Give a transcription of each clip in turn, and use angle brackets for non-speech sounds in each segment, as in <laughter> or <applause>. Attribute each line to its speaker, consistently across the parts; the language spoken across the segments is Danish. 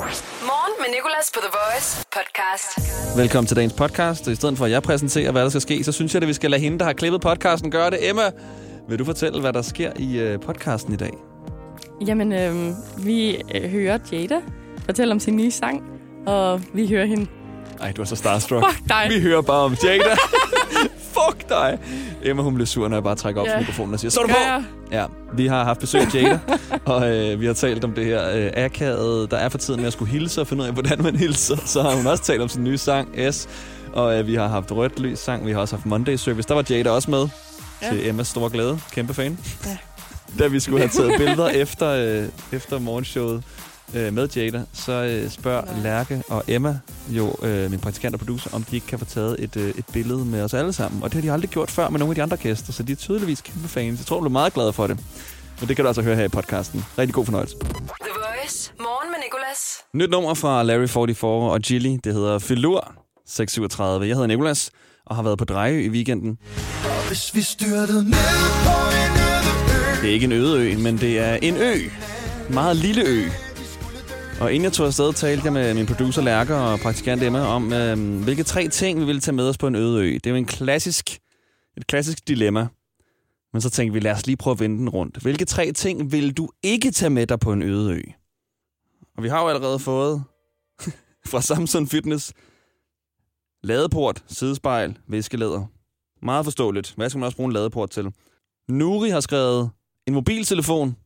Speaker 1: Morgen med Nicolas på The Voice podcast.
Speaker 2: Velkommen til dagens podcast. Og i stedet for, at jeg præsenterer, hvad der skal ske, så synes jeg, at vi skal lade hende, der har klippet podcasten, gøre det. Emma, vil du fortælle, hvad der sker i øh, podcasten i dag?
Speaker 3: Jamen, øh, vi øh, hører Jada fortælle om sin nye sang, og vi hører hende.
Speaker 2: Ej, du er så starstruck.
Speaker 3: Fuck dig.
Speaker 2: Vi hører bare om Jada. <laughs> Fuck dig. Emma, hun bliver sur, når jeg bare trækker op
Speaker 3: Ja.
Speaker 2: yeah. mikrofonen og siger, så er du
Speaker 3: Gør
Speaker 2: på!
Speaker 3: jeg.
Speaker 2: Ja, vi har haft besøg af Jada, <laughs> og øh, vi har talt om det her øh, akavet, der er for tiden med at skulle hilse og finde ud af, hvordan man hilser. Så har hun også talt om sin nye sang, S, og øh, vi har haft rødt lys sang, vi har også haft Monday Service. Der var Jada også med ja.
Speaker 3: Ja.
Speaker 2: til Emmas store glæde. Kæmpe fan.
Speaker 3: Ja.
Speaker 2: Da vi skulle have taget billeder <laughs> efter, øh, efter morgenshowet øh, med Jada, så øh, spørger
Speaker 3: Nej.
Speaker 2: Lærke og Emma, jo øh, min praktikant og producer, om de ikke kan få taget et, øh, et billede med os alle sammen. Og det har de aldrig gjort før med nogle af de andre gæster, så de er tydeligvis kæmpe fans. Jeg tror, du er meget glad for det. Men det kan du altså høre her i podcasten. Rigtig god fornøjelse.
Speaker 1: The Voice. Morgen med Nicolas.
Speaker 2: Nyt nummer fra Larry44 og Gilly. Det hedder Filur 637. Jeg hedder Nikolas og har været på Drejø i weekenden.
Speaker 4: Hvis vi styrtede ned på en øde ø
Speaker 2: Det er ikke en øde ø, men det er en ø. En meget lille ø. Og inden jeg tog afsted, talte jeg med min producer Lærke og praktikant Emma om, øh, hvilke tre ting, vi ville tage med os på en øde ø. Det er jo en klassisk, et klassisk dilemma. Men så tænkte vi, lad os lige prøve at vende den rundt. Hvilke tre ting vil du ikke tage med dig på en øde ø? Og vi har jo allerede fået <laughs> fra Samsung Fitness ladeport, sidespejl, viskelæder. Meget forståeligt. Hvad skal man også bruge en ladeport til? Nuri har skrevet en mobiltelefon,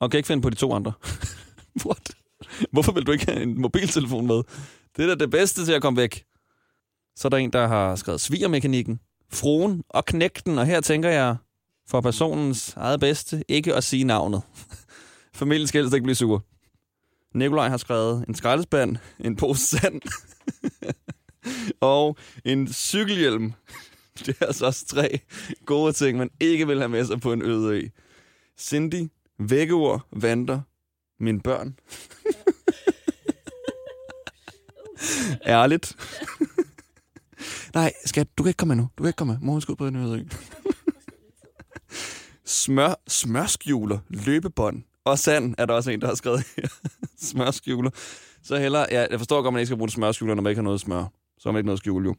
Speaker 2: og kan ikke finde på de to andre. <laughs> What? Hvorfor vil du ikke have en mobiltelefon med? Det er da det bedste til at komme væk. Så er der en, der har skrevet svigermekanikken, fruen og knægten, og her tænker jeg for personens eget bedste ikke at sige navnet. <laughs> Familien skal helst ikke blive sur. Nikolaj har skrevet en skraldespand, en pose sand <laughs> og en cykelhjelm. <laughs> Det er altså også tre gode ting, man ikke vil have med sig på en øde ø. Cindy, vækkeord, vanter, mine børn. <laughs> Ærligt. <laughs> Nej, skat, du kan ikke komme med nu. Du kan ikke komme med. Morgen skal ud på en øde ø. <laughs> Smør, smørskjuler, løbebånd og sand er der også en, der har skrevet her. <laughs> smørskjuler. Så heller, ja, jeg forstår godt, man ikke skal bruge smørskjuler, når man ikke har noget smør. Så har man ikke noget skjul, jo.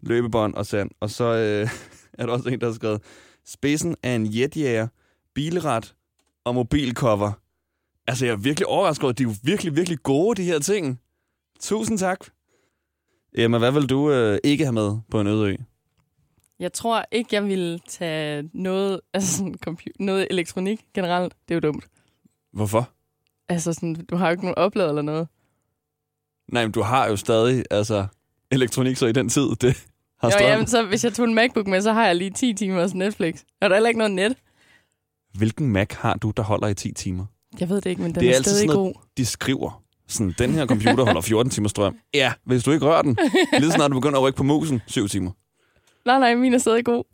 Speaker 2: Løbebånd og sand. Og så øh, <laughs> er der også en, der har skrevet, spidsen af en jetjæger, bilret og mobilcover. Altså, jeg er virkelig overrasket over, at de er jo virkelig, virkelig gode, de her ting. Tusind tak. Emma, hvad vil du øh, ikke have med på en øde ø?
Speaker 3: Jeg tror ikke, jeg ville tage noget, altså sådan compu- noget elektronik generelt. Det er jo dumt.
Speaker 2: Hvorfor?
Speaker 3: Altså, sådan, du har jo ikke nogen oplader eller noget.
Speaker 2: Nej, men du har jo stadig altså, elektronik, så i den tid, det har
Speaker 3: Jo,
Speaker 2: strøm.
Speaker 3: jamen, så hvis jeg tog en MacBook med, så har jeg lige 10 timers Netflix. Er der heller ikke noget net?
Speaker 2: Hvilken Mac har du, der holder i 10 timer?
Speaker 3: Jeg ved det ikke, men
Speaker 2: Det
Speaker 3: den det
Speaker 2: er
Speaker 3: er, er
Speaker 2: altid
Speaker 3: stadig
Speaker 2: sådan
Speaker 3: god.
Speaker 2: De skriver sådan, den her computer holder 14 timer strøm. Ja, hvis du ikke rører den. Lige så snart du begynder at rykke på musen, 7 timer.
Speaker 3: Nej, nej, min er stadig god.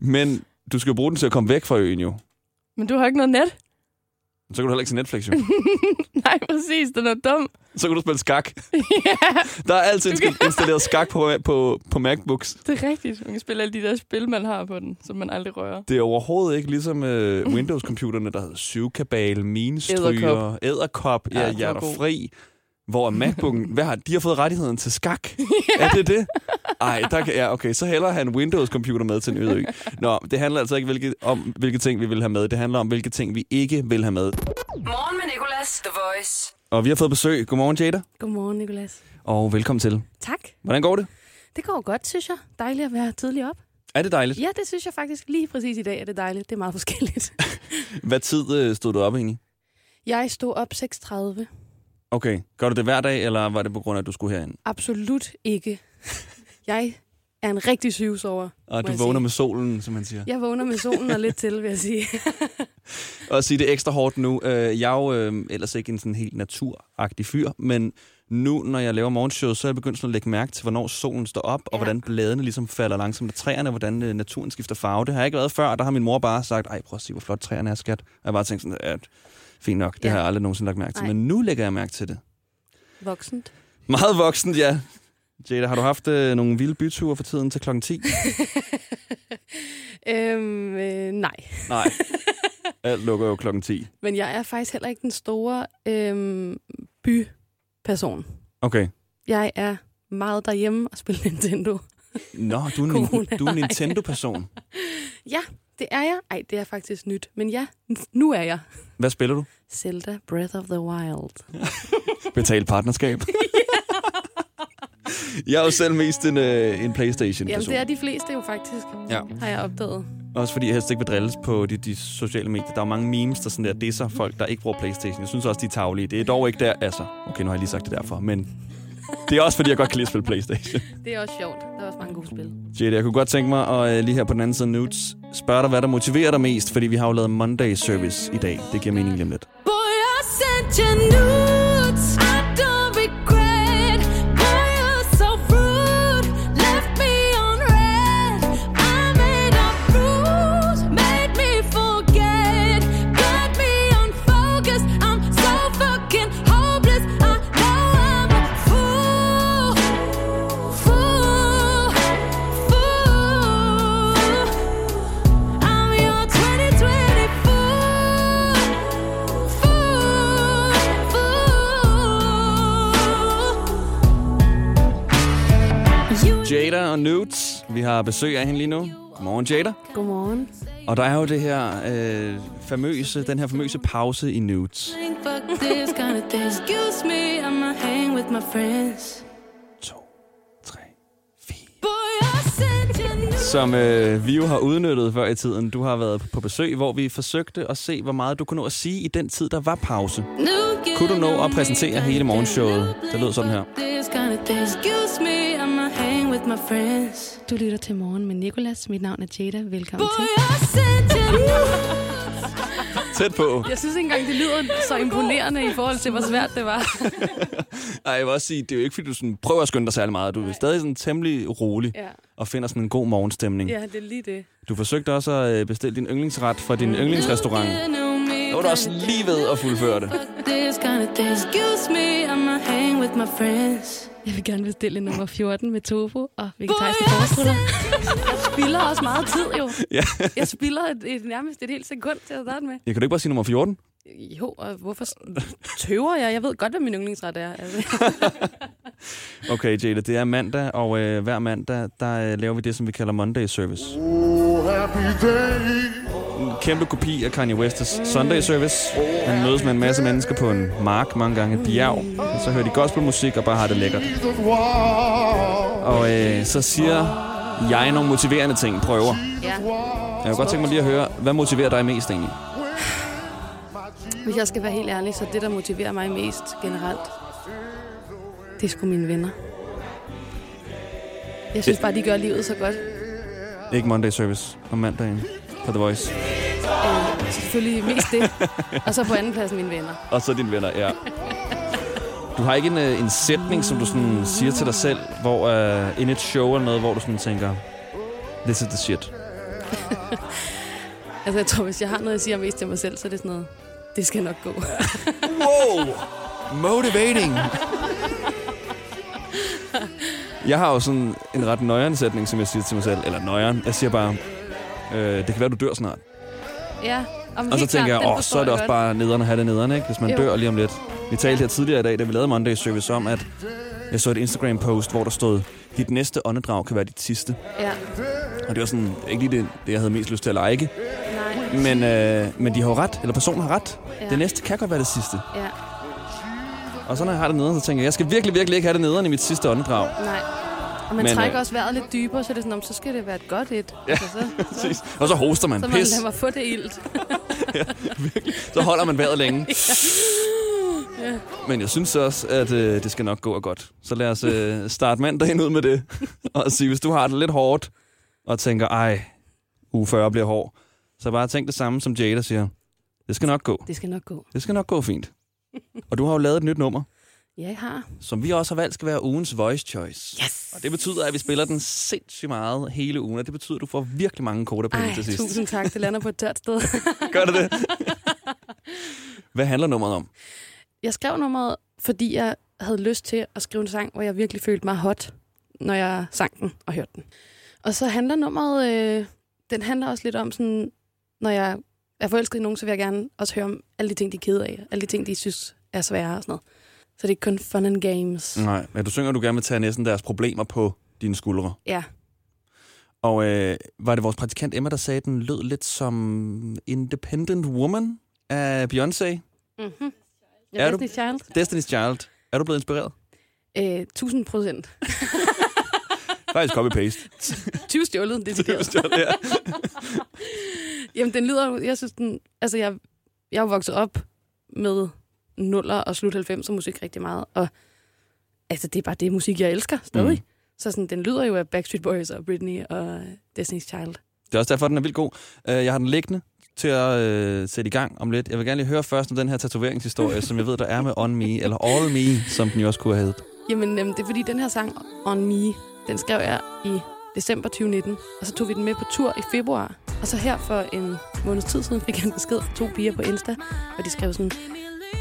Speaker 2: Men du skal jo bruge den til at komme væk fra øen jo.
Speaker 3: Men du har ikke noget net? <laughs>
Speaker 2: Så kan du heller ikke se Netflix jo.
Speaker 3: Nej, præcis, den er dum. <laughs>
Speaker 2: Så kan du spille skak.
Speaker 3: ja,
Speaker 2: Der er altid
Speaker 3: Du kan-
Speaker 2: insta- installeret skak på, på, på MacBooks.
Speaker 3: det er rigtigt. Man kan spille alle de der spil, man har på den, som man aldrig rører.
Speaker 2: Det er overhovedet ikke ligesom øh, Windows-computerne, der hedder syvkabal, minestryger,
Speaker 3: Edderkop.
Speaker 2: æderkop,
Speaker 3: Ja,
Speaker 2: ja,
Speaker 3: den var
Speaker 2: hjerter
Speaker 3: god.
Speaker 2: fri. Hvor MacBook'en, hvad har, de har fået rettigheden til skak. Er det det? Ej, der kan, ja, okay, så hellere have en Windows-computer med til en øde ø. Nå, det handler altså ikke hvilke, om, hvilke ting vi vil have med. Det handler om, hvilke ting vi ikke vil have med.
Speaker 1: Morgen med Nicolas. The Voice.
Speaker 2: Og vi har fået besøg. Godmorgen, Jada.
Speaker 5: Godmorgen, Nicolas.
Speaker 2: Og velkommen til.
Speaker 5: Tak.
Speaker 2: Hvordan går det?
Speaker 5: Det går godt, synes jeg. Dejligt at være tidlig op.
Speaker 2: Er det dejligt?
Speaker 5: Ja, det synes jeg faktisk lige præcis i dag er det dejligt. Det er meget forskelligt. <laughs>
Speaker 2: Hvad tid øh, stod du op egentlig?
Speaker 5: Jeg stod op 6.30.
Speaker 2: Okay. Gør du det hver dag, eller var det på grund af, at du skulle herind?
Speaker 5: Absolut ikke. <laughs> Jeg er en rigtig syvsover.
Speaker 2: Og
Speaker 5: Må
Speaker 2: du
Speaker 5: jeg
Speaker 2: vågner
Speaker 5: sige.
Speaker 2: med solen, som man siger.
Speaker 5: Jeg vågner med solen og lidt til, vil jeg sige.
Speaker 2: Og sige det er ekstra hårdt nu. Øh, Jeg er jo øh, ellers ikke en sådan helt naturagtig fyr, men nu, når jeg laver morgenshowet, så er jeg begyndt sådan at lægge mærke til, hvornår solen står op, og
Speaker 5: Ja.
Speaker 2: hvordan bladene ligesom falder langsomt af træerne, og hvordan øh, naturen skifter farve. Det har jeg ikke været før, og der har min mor bare sagt, ej, prøv at se, hvor flot træerne er, skat. Og jeg har bare tænkt sådan, at fint nok, det
Speaker 5: Ja.
Speaker 2: har jeg aldrig nogensinde lagt mærke til.
Speaker 5: Nej.
Speaker 2: Men nu lægger jeg mærke til det.
Speaker 5: Voksent.
Speaker 2: Meget voksen, ja. Jada, har du haft øh, nogle vilde byture for tiden til klokken
Speaker 5: <laughs>
Speaker 2: 10?
Speaker 5: Øhm, øh, nej.
Speaker 2: Nej. Alt lukker jo klokken 10.
Speaker 5: Men jeg er faktisk heller ikke den store øhm, byperson.
Speaker 2: Okay.
Speaker 5: Jeg er meget derhjemme og spiller Nintendo.
Speaker 2: Nå, du er en,
Speaker 5: Corona,
Speaker 2: nin- du er en
Speaker 5: nej.
Speaker 2: Nintendo-person.
Speaker 5: Ja, det er jeg. Ej, det er faktisk nyt. Men ja, nu er jeg.
Speaker 2: Hvad spiller du?
Speaker 5: Zelda Breath of the Wild.
Speaker 2: Betal partnerskab. <laughs> jeg er jo selv mest en, øh, en
Speaker 5: Jamen,
Speaker 2: Playstation-person.
Speaker 5: det er de fleste jo faktisk,
Speaker 2: Ja.
Speaker 5: har jeg opdaget.
Speaker 2: Også fordi jeg helst ikke vil drilles på de, de sociale medier. Der er jo mange memes, der sådan der disser folk, der ikke bruger Playstation. Jeg synes også, de er tavlige. Det er dog ikke der, altså. Okay, nu har jeg lige sagt det derfor, men... Det er også, fordi jeg godt kan lide at spille Playstation.
Speaker 5: <laughs> Det er også sjovt. Der er også mange gode spil.
Speaker 2: Jade, jeg kunne godt tænke mig at øh, lige her på den anden side af Nudes spørge dig, hvad der motiverer dig mest, fordi vi har jo lavet Monday Service i dag. Det giver mening lige om lidt.
Speaker 6: Boy, I sent you nudes. I don't regret. Boy, you're so rude. Left me on red. I made up rules. Made me forget. Got me unfocused. I'm so fucking hopeless. I know I'm a fool. Fool. Fool. I'm your 2024. Fool, fool. You
Speaker 2: Jada og Nudes, vi har besøg af hende lige nu. Godmorgen, Jada.
Speaker 5: Godmorgen.
Speaker 2: Og der er jo det her, øh, famøse, den her famøse pause i Nudes.
Speaker 6: think fuck this kind of thing. Excuse me, I'ma hang with my friends.
Speaker 2: 2, 3, 4.
Speaker 6: Boy, I sent you news.
Speaker 2: Som øh, vi jo har udnyttet før i tiden. Du har været på besøg, hvor vi forsøgte at se, hvor meget du kunne nå at sige i den tid, der var pause.
Speaker 6: Nu
Speaker 2: Kunne du nå at
Speaker 6: gælder
Speaker 2: præsentere
Speaker 6: min
Speaker 2: hele morgenshowet?
Speaker 6: tanke.
Speaker 2: Det lød sådan her.
Speaker 6: Fuck This kind of thing. Excuse me, I'ma hang with my friends.
Speaker 5: Du lytter til morgen med Nicolas. Mit navn er Jada. Velkommen
Speaker 6: Boy,
Speaker 5: til.
Speaker 6: I sent you news.
Speaker 2: Tæt på.
Speaker 5: Jeg synes ikke engang, det lyder så imponerende i forhold til, hvor svært det var.
Speaker 2: Ej, jeg vil også sige, det er jo ikke, fordi du sådan prøver at skynde dig særlig meget. Du er stadig sådan temmelig rolig
Speaker 5: Ja,
Speaker 2: og finder sådan en god morgenstemning.
Speaker 5: ja det er lige det.
Speaker 2: Du forsøgte også at øh, bestille din yndlingsret fra din yndlingsrestaurant. Nu
Speaker 6: Nu
Speaker 2: er du også lige ved at fuldføre det.
Speaker 6: This kind of thing. Excuse me, I'ma hang with my friends.
Speaker 5: Jeg vil gerne bestille nummer 14 med tofu og vegetariske forstrutter. Jeg spilder også meget tid jo.
Speaker 2: Ja.
Speaker 5: Jeg spilder et, et, nærmest et helt sekund til at starte med.
Speaker 2: Jeg kan du ikke bare sige nummer 14?
Speaker 5: Jo, og hvorfor s- tøver jeg? Jeg ved godt, hvad min yndlingsret er. Altså.
Speaker 2: Okay, Jada, det er mandag, og øh, hver mandag, der øh, laver vi det, som vi kalder Monday Service. En kæmpe kopi af Kanye West's Sunday Service. Han mødes med en masse mennesker på en mark, mange gange et bjerg. Og så hører de gospelmusik og bare har det lækkert. Og øh, så siger jeg nogle motiverende ting, prøver.
Speaker 5: Ja.
Speaker 2: Jeg kunne godt tænke mig lige at høre, hvad motiverer dig mest egentlig?
Speaker 5: Hvis jeg skal være helt ærlig, så det, der motiverer mig mest generelt, det er sgu mine venner. Jeg synes bare, de gør livet så godt.
Speaker 2: Ikke Monday Service, om mandagen på The Voice.
Speaker 5: Øh, selvfølgelig mest det. Og så på anden plads mine venner.
Speaker 2: Og så dine venner, ja. Du har ikke en, øh, en sætning, som du sådan siger til dig selv, hvor uh, in et show eller noget, hvor du sådan tænker, this is the shit.
Speaker 5: Altså, jeg tror, hvis jeg har noget, jeg siger mest til mig selv, så er det sådan noget, det skal nok gå.
Speaker 2: Wow! Motivating! Jeg har jo sådan en ret nøjeren sætning, som jeg siger til mig selv. Eller nøjeren. Jeg siger bare, øh, det kan være, du dør snart.
Speaker 5: Ja, men
Speaker 2: Og så
Speaker 5: helt klart,
Speaker 2: tænker jeg,
Speaker 5: den
Speaker 2: åh,
Speaker 5: forstår
Speaker 2: så er det
Speaker 5: jeg
Speaker 2: også
Speaker 5: godt.
Speaker 2: bare nederen at have det nederen, ikke? Hvis man
Speaker 5: Jo.
Speaker 2: dør lige om lidt. Vi talte her tidligere i dag, da vi lavede Monday Service om, at jeg så et Instagram-post, hvor der stod, dit næste åndedrag kan være dit sidste.
Speaker 5: Ja,
Speaker 2: Og det var sådan, ikke lige det, det jeg havde mest lyst til at like.
Speaker 5: nej,
Speaker 2: Men, øh, men de har jo ret, eller personen har ret.
Speaker 5: Ja.
Speaker 2: Det næste kan godt være det sidste.
Speaker 5: ja,
Speaker 2: Og så når jeg har det nederen, så tænker jeg, jeg skal virkelig, virkelig ikke have det nederen i mit sidste åndedrag.
Speaker 5: nej. Og man
Speaker 2: Men,
Speaker 5: men, trækker
Speaker 2: øh,
Speaker 5: også vejret lidt dybere, så er det sådan, "Nå, men så skal det være et godt et. Ja, altså, så, så,
Speaker 2: Præcis. Og så hoster man.
Speaker 5: så man
Speaker 2: Pis.
Speaker 5: lader mig få det ilt.
Speaker 2: Så holder man vejret
Speaker 5: <laughs>
Speaker 2: længe. Men jeg synes også, at øh, det skal nok gå og godt. Så lad os øh, starte mandagen ud med det. <laughs> og sige, hvis du har det lidt hårdt, og tænker, ej, uge 40 bliver hård, så bare tænk det samme, som Jada siger. Det skal nok gå.
Speaker 5: Det skal nok gå.
Speaker 2: Det skal nok gå fint. Og du har jo lavet et nyt nummer,
Speaker 5: Ja, jeg har.
Speaker 2: som vi også har valgt skal være ugens voice choice. Yes. Og det betyder, at vi spiller den sindssygt meget hele ugen, og det betyder, at du får virkelig mange korte penge
Speaker 5: Ej,
Speaker 2: til sidst.
Speaker 5: tusind tak. Det lander på et tørt sted.
Speaker 2: Gør det det? <laughs> Hvad handler nummeret om?
Speaker 5: Jeg skrev nummeret, fordi jeg havde lyst til at skrive en sang, hvor jeg virkelig følte mig hot, når jeg sang den og hørte den. Og så handler nummeret, øh, den handler også lidt om sådan, når jeg er forelsket i nogen, så vil jeg gerne også høre om alle de ting, de er ked af, alle de ting, de synes er svære og sådan noget. Så det er ikke kun fun and games. Mm.
Speaker 2: Nej, men du synger, at du gerne vil tage næsten deres problemer på dine skuldre.
Speaker 5: Ja.
Speaker 2: Og øh, var det vores praktikant Emma, der sagde, at den lød lidt som Independent Woman af Beyoncé?
Speaker 5: Mm-hmm.
Speaker 2: Er
Speaker 5: Jeg
Speaker 2: du-
Speaker 5: er Destiny's Child.
Speaker 2: Destiny's Child. Er du blevet inspireret?
Speaker 5: Øh, 1000 procent.
Speaker 2: <laughs> Faktisk
Speaker 5: <laughs>
Speaker 2: copy-paste.
Speaker 5: 20 stjålet, det er
Speaker 2: ja.
Speaker 5: <laughs> Jamen, den lyder jo... Jeg synes, den... Altså, jeg, jeg er jo vokset op med nuller og slut 90'er musik rigtig meget, og altså, det er bare det musik, jeg elsker stadig.
Speaker 2: Mm.
Speaker 5: Mm. Så sådan, den lyder jo af Backstreet Boys og Britney og Destiny's Child.
Speaker 2: Det er også derfor, den er vildt god. Øh, Jeg har den liggende til at øh, sætte i gang om lidt. Jeg vil gerne lige høre først om den her tatoveringshistorie, som jeg ved, der er med On Me, eller All Me, som den jo også kunne have heddet.
Speaker 5: Jamen, øhm, det er fordi, den her sang, On Me, den skrev jeg i december 2019, og så tog vi den med på tur i februar. Og så her for en måneds tid siden fik jeg en besked fra to piger på Insta, og de skrev sådan,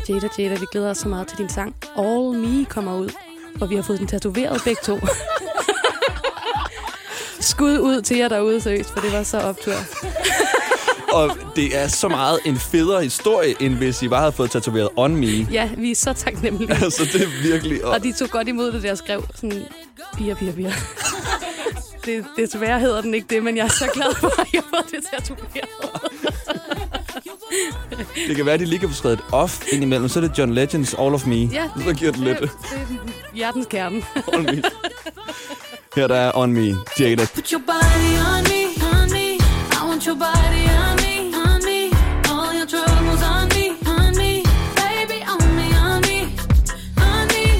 Speaker 5: Jada, Jada, vi glæder os så meget til din sang. All Me kommer ud, og vi har fået den tatoveret begge to. <laughs> Skud ud til jer derude, seriøst, for det var så optur.
Speaker 2: Og det er så meget en federe historie, end hvis I bare havde fået tatoveret On Me.
Speaker 5: Ja, vi er så taknemmelige.
Speaker 2: <laughs> Altså, det er virkelig... Og,
Speaker 5: Og de tog godt imod det, der skrev sådan, piger, piger, piger. <laughs> det, desværre hedder den ikke det, men jeg er så glad for, at jeg har fået det tatoveret.
Speaker 2: det kan være, at de lige kan få skrevet et off indimellem. Så er det John Legends All of Me.
Speaker 5: Ja,
Speaker 2: Så giver det lidt
Speaker 5: Det, er hjertens kerne.
Speaker 2: On Me. Her der er On Me, Jada.
Speaker 6: Put your body on me, on me. I want your body on me, on me. All your troubles on me, on me. Baby, on me, on me, on me.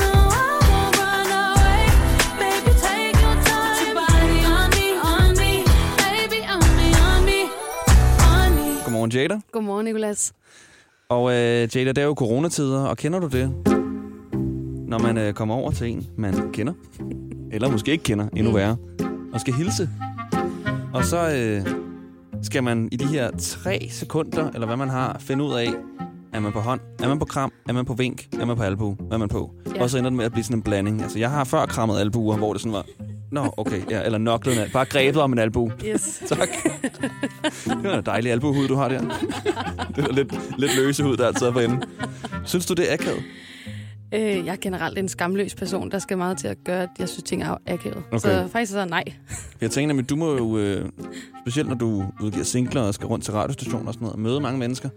Speaker 6: No, I won't run away. Baby, take your time. Put your body on me, on me. Baby, on me, on me, on me.
Speaker 2: Godmorgen, Jada.
Speaker 5: Godmorgen, Nicolas.
Speaker 2: Og øh, Jada, det er jo coronatider, og kender du det? Når man øh, kommer over til en, man kender, eller måske ikke kender, endnu værre, og skal hilse. Og så øh, skal man i de her tre sekunder, eller hvad man har, finde ud af, er man på hånd, er man på kram, er man på vink, er man på albu, hvad er man på?
Speaker 5: Ja.
Speaker 2: Og så ender det med at blive sådan en blanding. Altså, jeg har før krammet albuer, hvor det sådan var, nå, okay, ja, eller noklet, en al- bare grebet om en albu.
Speaker 5: Yes.
Speaker 2: Tak. Det var en dejlig albuhud, du har der. Det er lidt, lidt løse hud, der altid er på enden. Synes du, det er akavet?
Speaker 5: Øh, jeg er generelt en skamløs person, der skal meget til at gøre, at jeg synes, ting er akavet.
Speaker 2: Okay.
Speaker 5: Okay. Så faktisk så nej.
Speaker 2: Jeg tænker nemlig, du må jo, øh, specielt når du udgiver singler og skal rundt til radiostationer og sådan noget, og møde mange mennesker.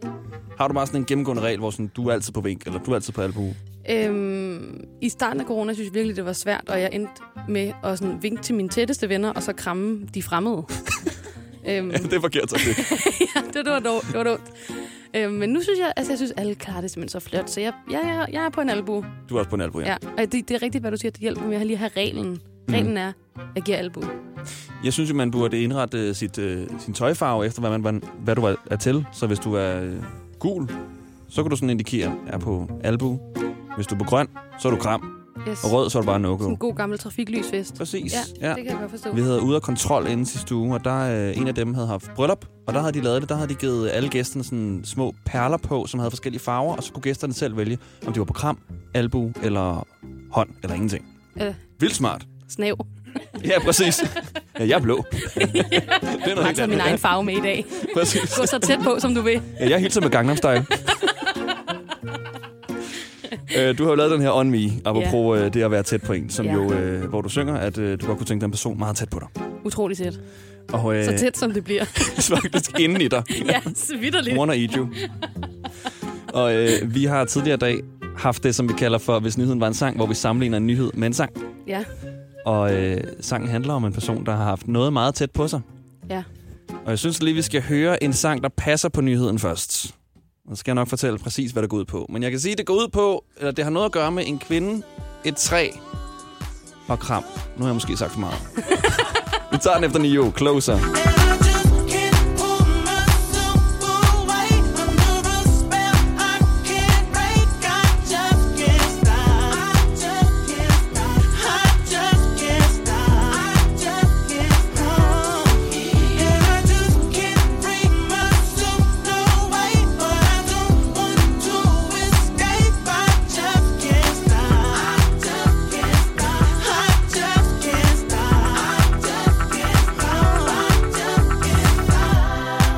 Speaker 2: Har du bare sådan en gennemgående regel, hvor sådan, du er altid på vink, eller du er altid på albu?
Speaker 5: Øhm, I starten af corona synes jeg virkelig, det var svært, og jeg endte med at sådan vinke til mine tætteste venner, og så kramme
Speaker 2: <laughs>
Speaker 5: de fremmede.
Speaker 2: <laughs>
Speaker 5: øhm,
Speaker 2: det er forkert taktik.
Speaker 5: <laughs> det, det var dumt. Det var dumt. Øhm, men nu synes jeg, altså jeg synes, alle klarer det simpelthen så flot, så jeg, jeg, jeg, jeg er på en albu.
Speaker 2: Du er også på en albu, ja. Mm.
Speaker 5: Ja, og det, det er rigtigt, hvad du siger, det hjælper, men jeg har lige her reglen. Reglen er, jeg giver albu.
Speaker 2: Jeg synes jo, man burde indrette øh, sit, øh, sin tøjfarve efter, hvad, man, hvad du er, er til. Så hvis du er øh, gul, så kan du sådan indikere, er på albu. Hvis du er på grøn, så er du kram.
Speaker 5: Yes.
Speaker 2: Og rød, så er du bare no-go.
Speaker 5: Sådan en god gammel trafiklysfest.
Speaker 2: Præcis.
Speaker 5: Ja, det kan jeg godt forstå.
Speaker 2: Vi havde ude af kontrol inden sidste uge, og der øh, en af dem havde haft bryllup, og der havde de lavet det, der havde de givet alle gæsterne sådan små perler på, som havde forskellige farver, og så kunne gæsterne selv vælge, om de var på kram, albu eller hånd eller ingenting.
Speaker 5: Øh.
Speaker 2: Vildt smart. <laughs>
Speaker 5: Snav.
Speaker 2: Ja, præcis. Ja, jeg er
Speaker 5: <laughs>
Speaker 2: blå. det er
Speaker 5: Jeg har taget min egen farve med i dag.
Speaker 2: Præcis.
Speaker 5: Gå så tæt på, som du vil.
Speaker 2: Ja, jeg hilser med Gangnam Style. Øh, du har jo lavet den her On Me, apropos yeah. det at være tæt på en, som
Speaker 5: Ja.
Speaker 2: yeah. jo, øh, hvor du synger, at øh, du godt kunne tænke dig en person meget tæt på dig.
Speaker 5: Utrolig tæt.
Speaker 2: Og, øh,
Speaker 5: Så tæt, som det bliver.
Speaker 2: <laughs> faktisk inden i dig.
Speaker 5: ja, så vidderligt.
Speaker 2: Wanna eat you. Og øh, vi har tidligere i dag haft det, som vi kalder for, hvis nyheden var en sang, hvor vi sammenligner en nyhed med en sang.
Speaker 5: Ja.
Speaker 2: Og øh, sangen handler om en person, der har haft noget meget tæt på sig.
Speaker 5: Ja.
Speaker 2: Og jeg synes lige, vi skal høre en sang, der passer på nyheden først. Og så skal jeg nok fortælle præcis, hvad det går ud på. Men jeg kan sige, at det går ud på, eller det har noget at gøre med en kvinde, et træ og kram. Nu har jeg måske sagt for meget. vi tager den efter Nio. Closer.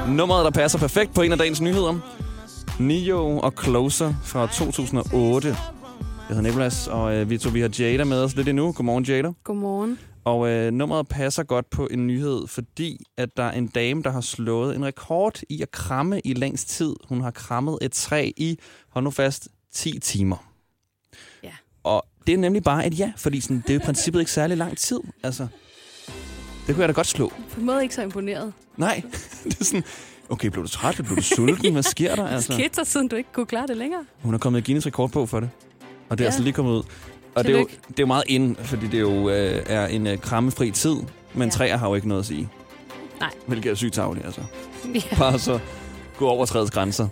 Speaker 2: Nummeret, der passer perfekt på en af dagens nyheder. Nio og Closer fra 2008. Jeg hedder Nicolas, og øh, vi tog vi har Jada med os lidt endnu. Godmorgen, Jada.
Speaker 5: Godmorgen.
Speaker 2: Og øh, nummeret passer godt på en nyhed, fordi at der er en dame, der har slået en rekord i at kramme i længst tid. Hun har krammet et træ i, hold nu fast, 10 timer.
Speaker 5: Ja.
Speaker 2: Og det er nemlig bare et ja, fordi sådan, det er i princippet ikke særlig lang tid. Altså, det kunne jeg da godt slå.
Speaker 5: På en måde ikke så imponeret.
Speaker 2: Nej, <laughs> det er sådan, okay, blev du træt? Blev du sulten? Hvad sker der?
Speaker 5: Altså.
Speaker 2: Altså,
Speaker 5: Skidt dig, siden du ikke kunne klare det længere.
Speaker 2: hun har kommet i Guinness rekordbog for det. Og det er
Speaker 5: Ja.
Speaker 2: altså lige kommet ud. Og det er, jo,
Speaker 5: Tillykke.
Speaker 2: det er jo meget ind, fordi det jo øh, er en øh, krammefri tid. Men ja.
Speaker 5: Ja.
Speaker 2: træer har jo ikke noget at sige.
Speaker 5: Nej.
Speaker 2: Hvilket er sygt tavligt, altså.
Speaker 5: Ja.
Speaker 2: Bare så gå over træets
Speaker 5: <laughs>
Speaker 2: grænser.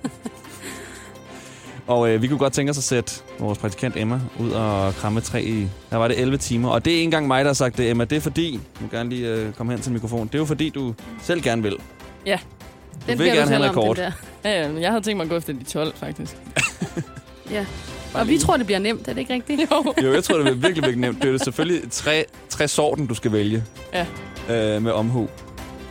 Speaker 2: og øh, vi kunne godt tænke os at sætte vores praktikant Emma ud og kramme et træ i... Der var det 11 timer. Og det er ikke engang mig, der har sagt det, Emma. Det er fordi... Nu gerne lige øh, komme hen til mikrofonen. Det er jo fordi, du selv gerne vil.
Speaker 3: Ja.
Speaker 2: Du vil gerne have en rekord.
Speaker 5: der.
Speaker 3: <laughs> Ja, ja, jeg havde tænkt mig at gå efter de 12, faktisk.
Speaker 5: Ja. Og vi tror, det bliver nemt, er det ikke rigtigt?
Speaker 3: Jo.
Speaker 2: Jo, jeg tror, det bliver virkelig, virkelig nemt. Det er jo selvfølgelig tre, tre sorten, du skal vælge.
Speaker 3: Ja.
Speaker 2: Øh, med omhu.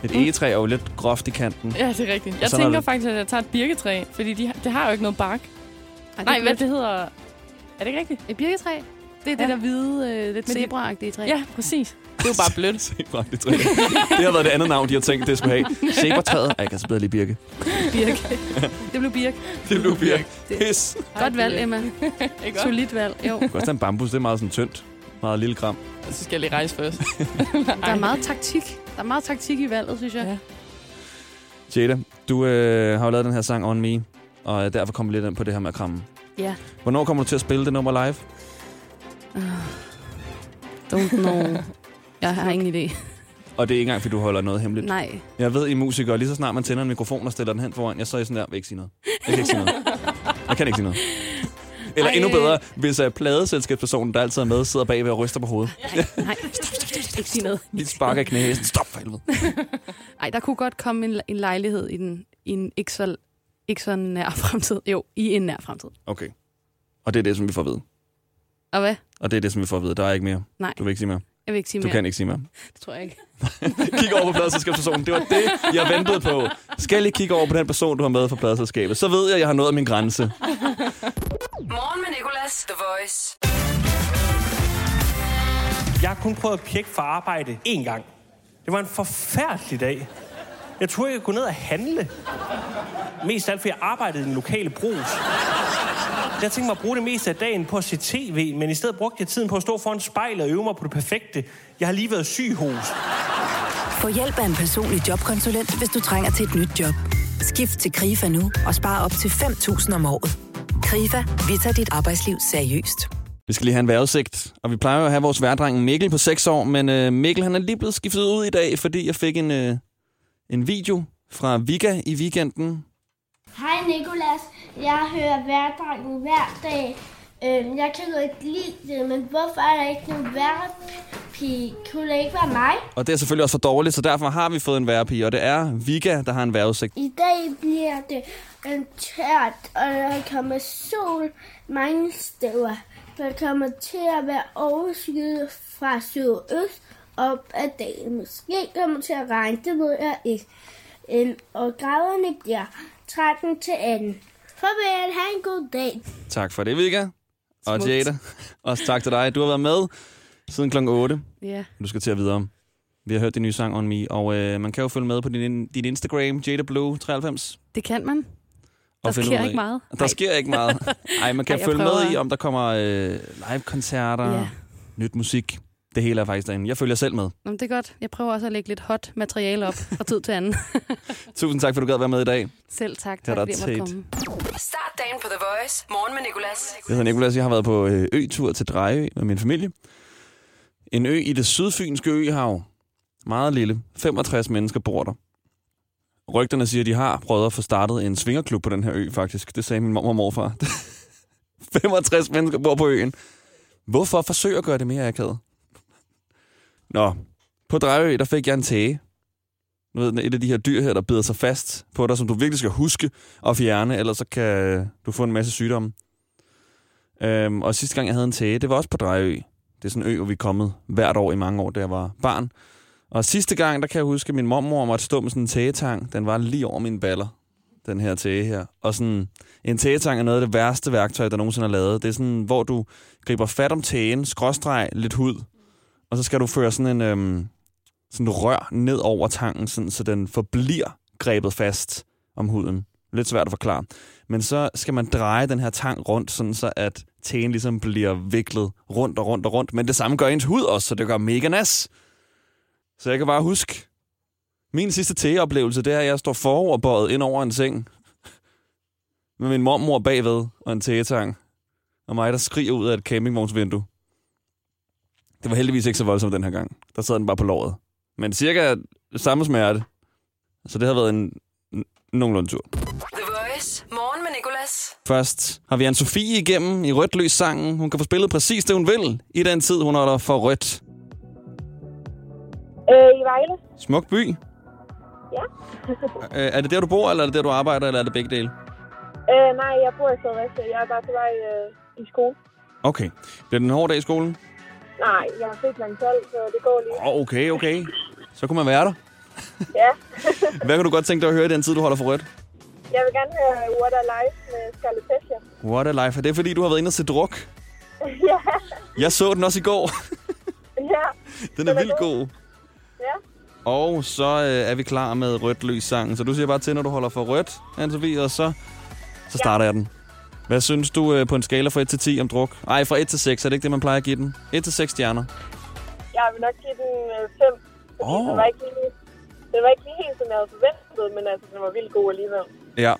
Speaker 2: Et
Speaker 3: Mm.
Speaker 2: egetræ er jo lidt groft i kanten.
Speaker 3: Ja, det er rigtigt. Jeg
Speaker 2: sådan er
Speaker 3: tænker
Speaker 2: det.
Speaker 3: faktisk, at jeg tager et birketræ, fordi de, har- det har jo ikke noget bark.
Speaker 5: Ej,
Speaker 3: Nej, hvad det hedder... Er det ikke rigtigt?
Speaker 5: Et birketræ. Det er
Speaker 3: Ja.
Speaker 5: ja. det der hvide, øh, lidt
Speaker 3: Men det-
Speaker 5: zebraagtige træ.
Speaker 3: Ja, præcis. Det er jo bare blødt.
Speaker 2: Zebraagtigt træ. Det har været det andet navn, de har tænkt, det skulle have. Zebratræet. Ej, jeg kan så bedre lige birke.
Speaker 5: Birk. det blev birk.
Speaker 2: Det blev birke. Pis.
Speaker 5: Godt valg, Emma.
Speaker 3: <laughs> Ikke også?
Speaker 5: Solidt valg.
Speaker 3: <laughs>
Speaker 5: Jo.
Speaker 2: Du kan også tage en bambus, det er meget sådan tyndt. Meget lille kram.
Speaker 3: Så skal jeg lige rejse først.
Speaker 5: Der er meget taktik. Der er meget taktik i valget, synes jeg.
Speaker 3: Ja.
Speaker 2: Jada, du øh, har jo lavet den her sang On Me, og øh, derfor kommer vi lidt ind på det her med at kramme.
Speaker 5: Ja.
Speaker 2: Hvornår kommer du til at spille det nummer live?
Speaker 5: Don't know. Jeg har ingen idé.
Speaker 2: Og det er ikke engang, fordi du holder noget hemmeligt.
Speaker 5: Nej.
Speaker 2: Jeg ved, I er musikere, lige så snart man tænder en mikrofon og stiller den hen foran, jeg så er I sådan der, jeg vil ikke sige noget. Jeg kan ikke sige noget. Jeg kan ikke sige noget. Eller Ej. endnu bedre, hvis uh, pladeselskabspersonen, der altid er med, sidder bagved og ryster på hovedet.
Speaker 3: <laughs>
Speaker 5: Nej. Ikke sige noget.
Speaker 2: Lige sparker i knæet. Stop for helvede.
Speaker 5: Ej, der kunne godt komme en, en lejlighed i, den, i en ikke så, ikke så nær <laughs> fremtid. Jo, i en nær fremtid.
Speaker 2: Okay. Og det er det, som vi får at vide.
Speaker 5: Og hvad?
Speaker 2: Og det er det, som vi får at vide. Der er ikke mere.
Speaker 5: Nej.
Speaker 2: Du vil ikke sige mere.
Speaker 5: Jeg vil ikke sige
Speaker 2: Du
Speaker 5: mere.
Speaker 2: kan ikke sige mere.
Speaker 5: Det tror jeg ikke.
Speaker 2: Kig over på pladeselskabspersonen. Det var det, jeg ventede på. Skal jeg lige kigge over på den person, du har med fra pladeselskabet? Så ved jeg, at jeg har nået min grænse.
Speaker 1: Morgen med Nicolas, The Voice.
Speaker 7: Jeg har kun prøvet at pjekke for arbejde én gang. Det var en forfærdelig dag. Jeg troede, jeg kunne gå ned og handle. Mest af alt, fordi jeg arbejdede i den lokale brus. Jeg tænkte mig at bruge det meste af dagen på at se tv, men i stedet brugte jeg tiden på at stå foran spejlet og øve mig på det perfekte. Jeg har lige været syg hos.
Speaker 8: Få hjælp af en personlig jobkonsulent, hvis du trænger til et nyt job. Skift til KRIFA nu og spare op til 5.000 om året. KRIFA, vi tager dit arbejdsliv seriøst.
Speaker 2: Vi skal lige have en vejrudsigt, og vi plejer jo at have vores værdreng Mikkel på 6 år, men øh, Mikkel han er lige blevet skiftet ud i dag, fordi jeg fik en, øh, en video fra Vika i weekenden.
Speaker 9: Hej Nikolas, jeg hører hverdrengen hver dag. Øhm, jeg kan jo ikke lide det, men hvorfor er der ikke nogen værpige? Kunne det ikke være mig?
Speaker 2: Og det er selvfølgelig også for dårligt, så derfor har vi fået en værpige, og det er Vika, der har en vejrudsigt.
Speaker 9: I dag bliver det en tørt, og der kommer sol mange steder. Der kommer til at være overskyet fra sydøst op ad dagen. Måske kommer til at regne, det ved jeg ikke. Øhm, og graderne bliver 13 til 18. Farvel, have en god dag.
Speaker 2: Tak for det, Vika. Og
Speaker 5: Smukt.
Speaker 2: Jada, <laughs> også tak til dig. Du har været med siden klokken 8.
Speaker 5: Ja.
Speaker 2: Du skal til at videre. Vi har hørt din nye sang On Me, og øh, man kan jo følge med på din, din Instagram, JadaBlue93.
Speaker 5: Det kan man. Der
Speaker 2: finde ud
Speaker 5: sker
Speaker 2: af-
Speaker 5: ikke meget.
Speaker 2: Der sker ikke meget.
Speaker 5: <laughs>
Speaker 2: Ej, man kan
Speaker 5: Ej, jeg
Speaker 2: følge
Speaker 5: prøver.
Speaker 2: med i, om der kommer øh, live-koncerter,
Speaker 5: Ja.
Speaker 2: ja. nyt musik. Det hele er faktisk derinde. Jeg følger selv med.
Speaker 5: Nå, men det er godt. Jeg prøver også at lægge lidt hot materiale op fra tid til anden.
Speaker 2: Tusind tak, for du gad være med i dag.
Speaker 5: Selv tak.
Speaker 2: er
Speaker 5: Tak,
Speaker 2: da
Speaker 5: fordi jeg måtte
Speaker 2: tæt.
Speaker 5: komme.
Speaker 1: Start dagen på The Voice. Morgen med Nicolas.
Speaker 2: Jeg hedder Nicolas, jeg har været på øh, ø-tur til Drejø med min familie. En ø i det sydfynske øhav. Meget lille. 65 mennesker bor der. Rygterne siger, at de har prøvet at få startet en svingerklub på den her ø, faktisk. Det sagde min mor og morfar. <laughs> 65 mennesker bor på øen. Hvorfor forsøge at gøre det mere akavet? Nå, på Drejø, der fik jeg en tæge. Du ved, et af de her dyr her, der bider sig fast på dig, som du virkelig skal huske at fjerne, ellers så kan du få en masse sygdomme. Øhm, og sidste gang, jeg havde en tæge, det var også på Drejø. Det er sådan en ø, hvor vi er kommet hvert år i mange år, da jeg var barn. Og sidste gang, der kan jeg huske, at min mormor måtte stå med sådan en tægetang. Den var lige over mine baller. den her tæge her. Og sådan, en tægetang er noget af det værste værktøj, der nogensinde er lavet. Det er sådan, hvor du griber fat om tægen, skråstreg lidt hud, og så skal du føre sådan en øhm, sådan rør ned over tangen, sådan, så den forbliver grebet fast om huden. Lidt svært at forklare. Men så skal man dreje den her tang rundt, sådan så at tæen ligesom bliver viklet rundt og rundt og rundt. Men det samme gør ens hud også, så det gør mega nas. Så jeg kan bare huske, min sidste teoplevelse, det er, at jeg står foroverbøjet ind over en seng. Med min mormor bagved og en tegetang. Og mig, der skriger ud af et campingvognsvindue. Det var heldigvis ikke så voldsomt den her gang. Der sad den bare på låret. Men cirka samme smerte. Så det har været en n- nogenlunde tur.
Speaker 1: The Voice. Morgen med Nicolas.
Speaker 2: Først har vi Anne-Sophie igennem i rødt løs sangen. Hun kan få spillet præcis det, hun vil i den tid, hun holder for rødt.
Speaker 10: Øh, I Vejle?
Speaker 2: Smuk by.
Speaker 10: Ja.
Speaker 2: <laughs> Øh, er det der, du bor, eller er det der, du arbejder, eller er det begge dele?
Speaker 10: Øh, nej, jeg bor i Fredericia. Jeg er bare på vej øh, i skole.
Speaker 2: Okay. Bliver det en hård dag i skolen?
Speaker 10: Nej, jeg har født kl. 12, så det går lige.
Speaker 2: Åh, okay, okay. Så kunne man være der.
Speaker 10: Ja.
Speaker 2: <laughs> Hvad kan du godt tænke dig at høre i den tid, du holder for rødt?
Speaker 10: Jeg vil gerne høre What a Life med Scarlett Tessia.
Speaker 2: What a life. Er det fordi, du har været inde og se druk?
Speaker 10: <laughs> ja.
Speaker 2: Jeg så den også i går.
Speaker 10: <laughs> Ja.
Speaker 2: Den er vildt god.
Speaker 10: Ja.
Speaker 2: Og så øh, er vi klar med rødt løs sangen. Så du siger bare til, når du holder for rødt, anne og så, så starter jeg den. Hvad synes du øh, på en skala fra 1 til 10 om druk? Ej, fra 1 til 6. Er det ikke det, man plejer at give den? 1 til 6 stjerner.
Speaker 10: Jeg vil nok give den øh, 5.
Speaker 2: Åh.
Speaker 10: Den var ikke lige... Den var ikke lige helt, som jeg havde forventet, men altså, den var vildt god alligevel.
Speaker 2: Ja,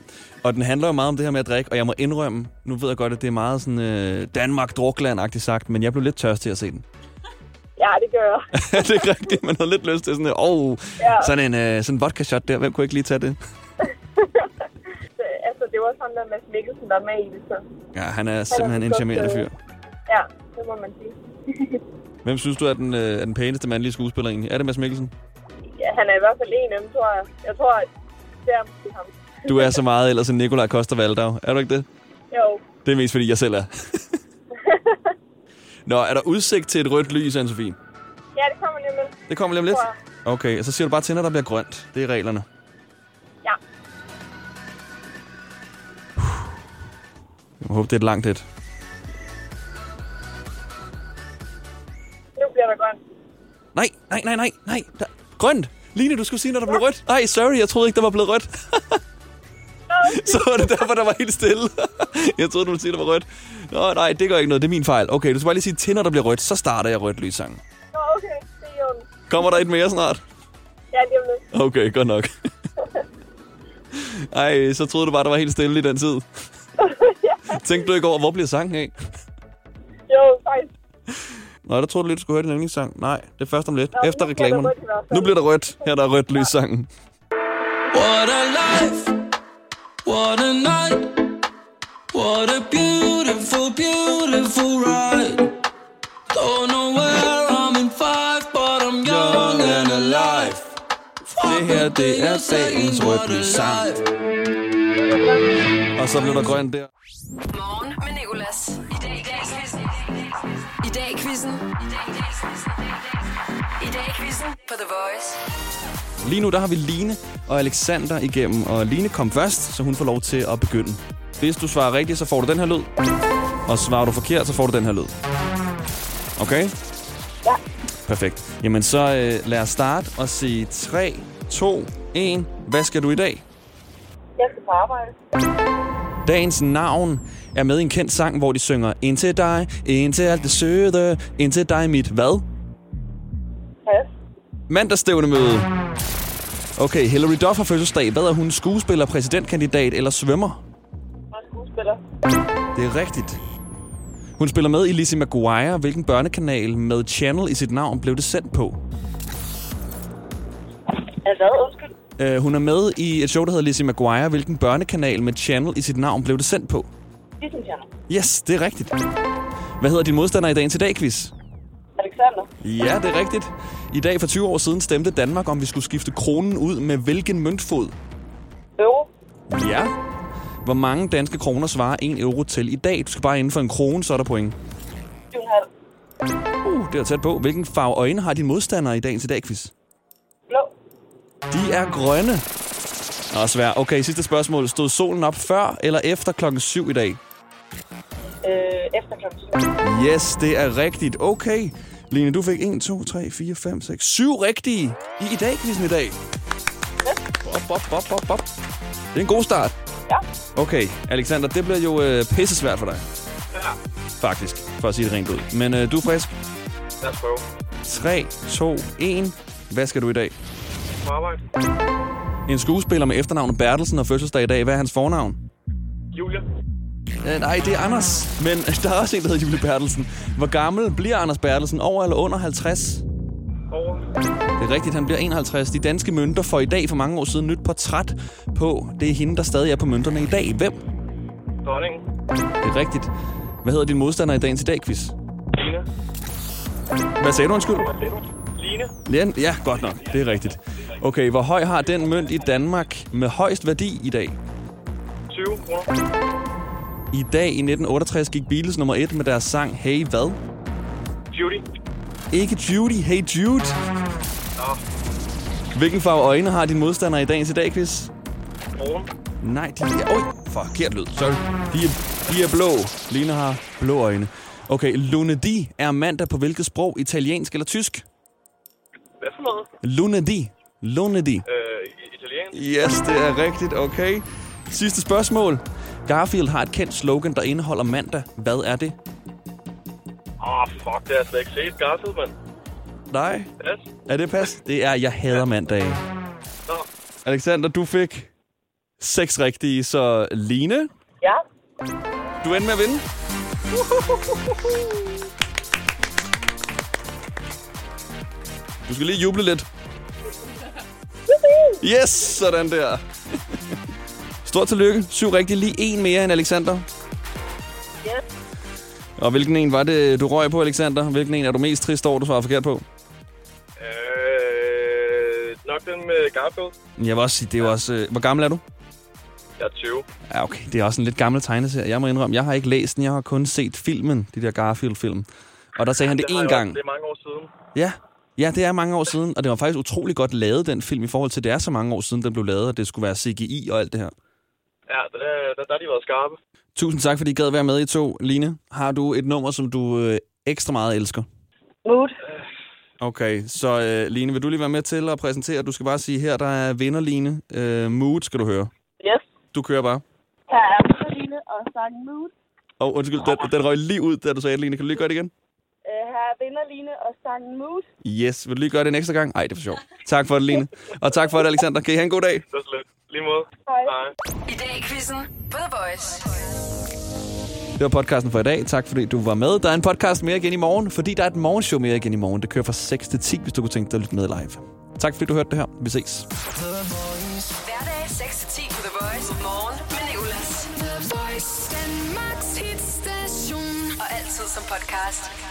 Speaker 2: og den handler jo meget om det her med at drikke, og jeg må indrømme, nu ved jeg godt, at det er meget sådan øh, danmark drukland sagt, men jeg blev lidt tørstig at se den.
Speaker 10: <laughs> Ja, det gør jeg.
Speaker 2: er <laughs> det ikke rigtigt? Man havde lidt lyst til sådan, øh, oh,
Speaker 10: Ja.
Speaker 2: sådan en øh, sådan en vodka shot der, hvem kunne ikke lige tage det?
Speaker 10: Øh, <laughs> altså, det var sådan, at Mads Mikkelsen var med i det, så...
Speaker 2: Ja, han er simpelthen en charmerende fyr.
Speaker 10: øh, Ja, det må man sige. <laughs>
Speaker 2: Hvem synes du er den, øh, er den pæneste mandlige skuespiller egentlig? Er det Mads Mikkelsen?
Speaker 10: Ja, han er i hvert fald en af dem, tror jeg. Jeg tror, at det er måske ham.
Speaker 2: Du er så meget ellers en Nikolaj Koster Valdau. Er du ikke det?
Speaker 10: Jo.
Speaker 2: Det er mest fordi, jeg selv
Speaker 10: <laughs>
Speaker 2: er. Nå, er der udsigt til et rødt lys, anne -Sophie?
Speaker 10: Ja, det kommer lige med.
Speaker 2: Det kommer lige om lidt. Okay, og så siger du bare til, når der bliver grønt. Det er reglerne.
Speaker 10: Ja.
Speaker 2: Jeg håber, det er et langt et.
Speaker 10: Nu bliver der grønt.
Speaker 2: Nej, nej, nej, nej, nej. Der... Grønt! Line, du skulle sige, når der blev rødt. Nej, sorry, jeg troede ikke, der var blevet rødt. <laughs> så var det derfor, der var helt stille. <laughs> jeg troede, du ville sige, der var rødt. Nå, nej, det gør ikke noget. Det er min fejl. Okay, du skal bare lige sige til, når der bliver rødt. Så starter jeg rødt lyssangen.
Speaker 10: Nå, okay. Det er jo den.
Speaker 2: Kommer der et mere snart?
Speaker 10: Ja, lige om lidt.
Speaker 2: Okay, godt
Speaker 10: <laughs>
Speaker 2: nok. Ej, så troede du bare, der var helt stille i den
Speaker 10: <laughs>
Speaker 2: tid. Tænkte du ikke over, hvor bliver sangen af?
Speaker 10: Jo, faktisk.
Speaker 2: Nå, der troede du lige, du skulle høre din yndlingssang. Nej, det er først om lidt.
Speaker 10: nu
Speaker 2: Efter
Speaker 10: bliver der
Speaker 2: reklamerne.
Speaker 10: rødt i hvert fald.
Speaker 2: Nu bliver der rødt. Her er der er rødt lys sangen.
Speaker 4: What a life. What a night. What a beautiful, beautiful ride. Don't know where I'm in five, but I'm young and alive.
Speaker 2: Det her, det er dagens
Speaker 4: What a
Speaker 2: rødt sang.
Speaker 4: life.
Speaker 2: Og så blev der grøn der.
Speaker 1: Morgen med Nicolas. I dag i dag quizzen. I dag i quizzen. I dag i dag quizzen. I dag i quizzen på The Voice.
Speaker 2: Lige nu, der har vi Line og Alexander igennem. Og Line kom først, så hun får lov til at begynde. Hvis du svarer rigtigt, så får du den her lyd. Og svarer du forkert, så får du den her lyd. Okay? Ja. Perfekt. Jamen, så øh, lad os starte og sige 3, 2, 1. Hvad skal du i dag?
Speaker 10: Jeg skal på arbejde.
Speaker 2: Dagens navn er med i en kendt sang, hvor de synger Ind til dig, ind til alt det søde, ind til dig mit hvad?
Speaker 10: Pas.
Speaker 2: Mandagsstævne møde. Okay, Hillary Duff har fødselsdag. Hvad er hun? Skuespiller, præsidentkandidat eller svømmer?
Speaker 10: Og en skuespiller.
Speaker 2: Det er rigtigt. Hun spiller med i Lizzie McGuire. Hvilken børnekanal med Channel i sit navn blev det sendt på?
Speaker 10: Er hvad? Undskyld.
Speaker 2: Uh, hun er med i et show, der hedder Lizzie McGuire. Hvilken børnekanal med Channel i sit navn blev det sendt på?
Speaker 10: Det synes jeg.
Speaker 2: Yes, det er rigtigt. Hvad hedder din modstander i dagen til dag, quiz?
Speaker 10: Alexander.
Speaker 2: Ja, det er rigtigt. I dag for 20 år siden stemte Danmark, om vi skulle skifte kronen ud med hvilken møntfod?
Speaker 10: Euro.
Speaker 2: Ja. Hvor mange danske kroner svarer 1 euro til i dag? Du skal bare inden for en krone, så er der point.
Speaker 10: 7,5.
Speaker 2: Uh, det er tæt på. Hvilken farve øjne har din modstander i dagen til dag, quiz?
Speaker 10: Blå.
Speaker 2: De er grønne. Og svær. Okay, sidste spørgsmål. Stod solen op før eller efter klokken 7 i dag?
Speaker 10: Øh, efter klokken syv.
Speaker 2: Yes, det er rigtigt. Okay. Line, du fik 1, 2, 3, 4, 5, 6, 7 rigtige i i dag, quizzen i dag. Bop, bop, bop, bop, bop. Det er en god start.
Speaker 10: Ja.
Speaker 2: Okay, Alexander, det bliver jo øh, pissesvært for dig. Ja. Faktisk, for at sige det rent ud. Men øh, du er frisk.
Speaker 11: Lad os prøve.
Speaker 2: 3, 2, 1. Hvad skal du i dag?
Speaker 11: På arbejde.
Speaker 2: En skuespiller med efternavnet Bertelsen og fødselsdag i dag. Hvad er hans fornavn?
Speaker 11: Julia.
Speaker 2: Øh, nej, det er Anders. Men <laughs> der er også en, der hedder Julie Bertelsen. Hvor gammel bliver Anders Bertelsen? Over eller under 50?
Speaker 11: Over.
Speaker 2: Det er rigtigt, han bliver 51. De danske mønter får i dag for mange år siden nyt portræt på. Det er hende, der stadig er på mønterne i dag. Hvem? Det
Speaker 11: Dronningen.
Speaker 2: er rigtigt. Hvad hedder din modstander i dagens i dag, quiz?
Speaker 11: Line.
Speaker 2: Hvad sagde du, undskyld?
Speaker 11: Line.
Speaker 2: Len? Ja, godt nok. Det er rigtigt. Okay, hvor høj har den mønt i Danmark med højst værdi i dag?
Speaker 11: 20 kroner.
Speaker 2: I dag i 1968 gik Beatles nummer 1 med deres sang Hey Hvad?
Speaker 11: Judy.
Speaker 2: Ikke Judy, Hey Jude.
Speaker 11: Nå,
Speaker 2: Hvilken farve øjne har din modstander i dagens i dag, quiz?
Speaker 11: Broen.
Speaker 2: Nej, de er... Oj, forkert lyd. Sorry. De er, de er blå. Lina har blå øjne. Okay, lunedi er mandag på hvilket sprog? Italiensk eller tysk?
Speaker 11: Hvad for noget?
Speaker 2: Lunedi. Lunedi.
Speaker 11: Øh, i- italiensk.
Speaker 2: Yes, det er rigtigt. Okay. Sidste spørgsmål. Garfield har et kendt slogan, der indeholder mandag. Hvad er det?
Speaker 11: Åh, oh, fuck, det har jeg slet ikke set. Garfield, mand.
Speaker 2: Nej.
Speaker 11: Yes.
Speaker 2: Er det pas? Det er, jeg hader mandag.
Speaker 11: Nå,
Speaker 2: Alexander, du fik seks rigtige, så Line,
Speaker 10: Ja.
Speaker 2: du endte med at vinde. Du skal lige juble lidt. Yes, sådan der. Stort tillykke. Syv rigtige. Lige en mere end Alexander.
Speaker 10: Yes.
Speaker 2: Og hvilken en var det, du røg på, Alexander? Hvilken en er du mest trist over, du svarede forkert på?
Speaker 11: øh, nok den med Garfield.
Speaker 2: Men Jeg vil også sige, det er jo også... Øh, hvor gammel er du?
Speaker 11: Jeg er 20.
Speaker 2: Ja, okay. Det er også en lidt gammel tegneserie. Jeg må indrømme, jeg har ikke læst den. Jeg har kun set filmen, de der Garfield-film. Og der sagde han det
Speaker 11: Det har jeg
Speaker 2: én
Speaker 11: også-
Speaker 2: gang.
Speaker 11: Det er mange år siden.
Speaker 2: Ja. ja, det er mange år siden, og det var faktisk utrolig godt lavet, den film, i forhold til, at det er så mange år siden, den blev lavet, og det skulle være CGI og alt det her.
Speaker 11: Ja, der, der, der har de været skarpe.
Speaker 2: Tusind tak, fordi I gad være med i to. Line, har du et nummer, som du øh, ekstra meget elsker?
Speaker 10: Mood.
Speaker 2: Okay, så øh, Line, vil du lige være med til at præsentere? Du skal bare sige, her der er vinder, Line. Øh, mood skal du høre.
Speaker 10: Yes.
Speaker 2: Du kører bare.
Speaker 10: Her er Madeline og sangen Mood.
Speaker 2: Og oh, undskyld, den, den røg lige ud, da du sagde, det, Line. Kan du lige gøre det igen?
Speaker 10: Øh, her er Vinderline og sangen Mood.
Speaker 2: Yes, vil du lige gøre det en ekstra gang? Nej, det er for sjovt. Tak for det, Line. Og tak for det, Alexander. Kan I have en god dag?
Speaker 11: Det er så lidt. Lige måde.
Speaker 10: Hej.
Speaker 11: Hej.
Speaker 1: I dag i quizzen på The Voice.
Speaker 2: Det var podcasten for i dag. Tak fordi du var med. Der er en podcast mere igen i morgen, fordi der er et morgenshow mere igen i morgen. Det kører fra 6 til 10, hvis du kunne tænke dig at lytte med live. Tak fordi du hørte det her. Vi ses.
Speaker 1: Hverdag 6-10 på The Voice. Morgen med Nicolas.
Speaker 6: The Voice, Danmarks hitstation.
Speaker 1: Og altid som podcast.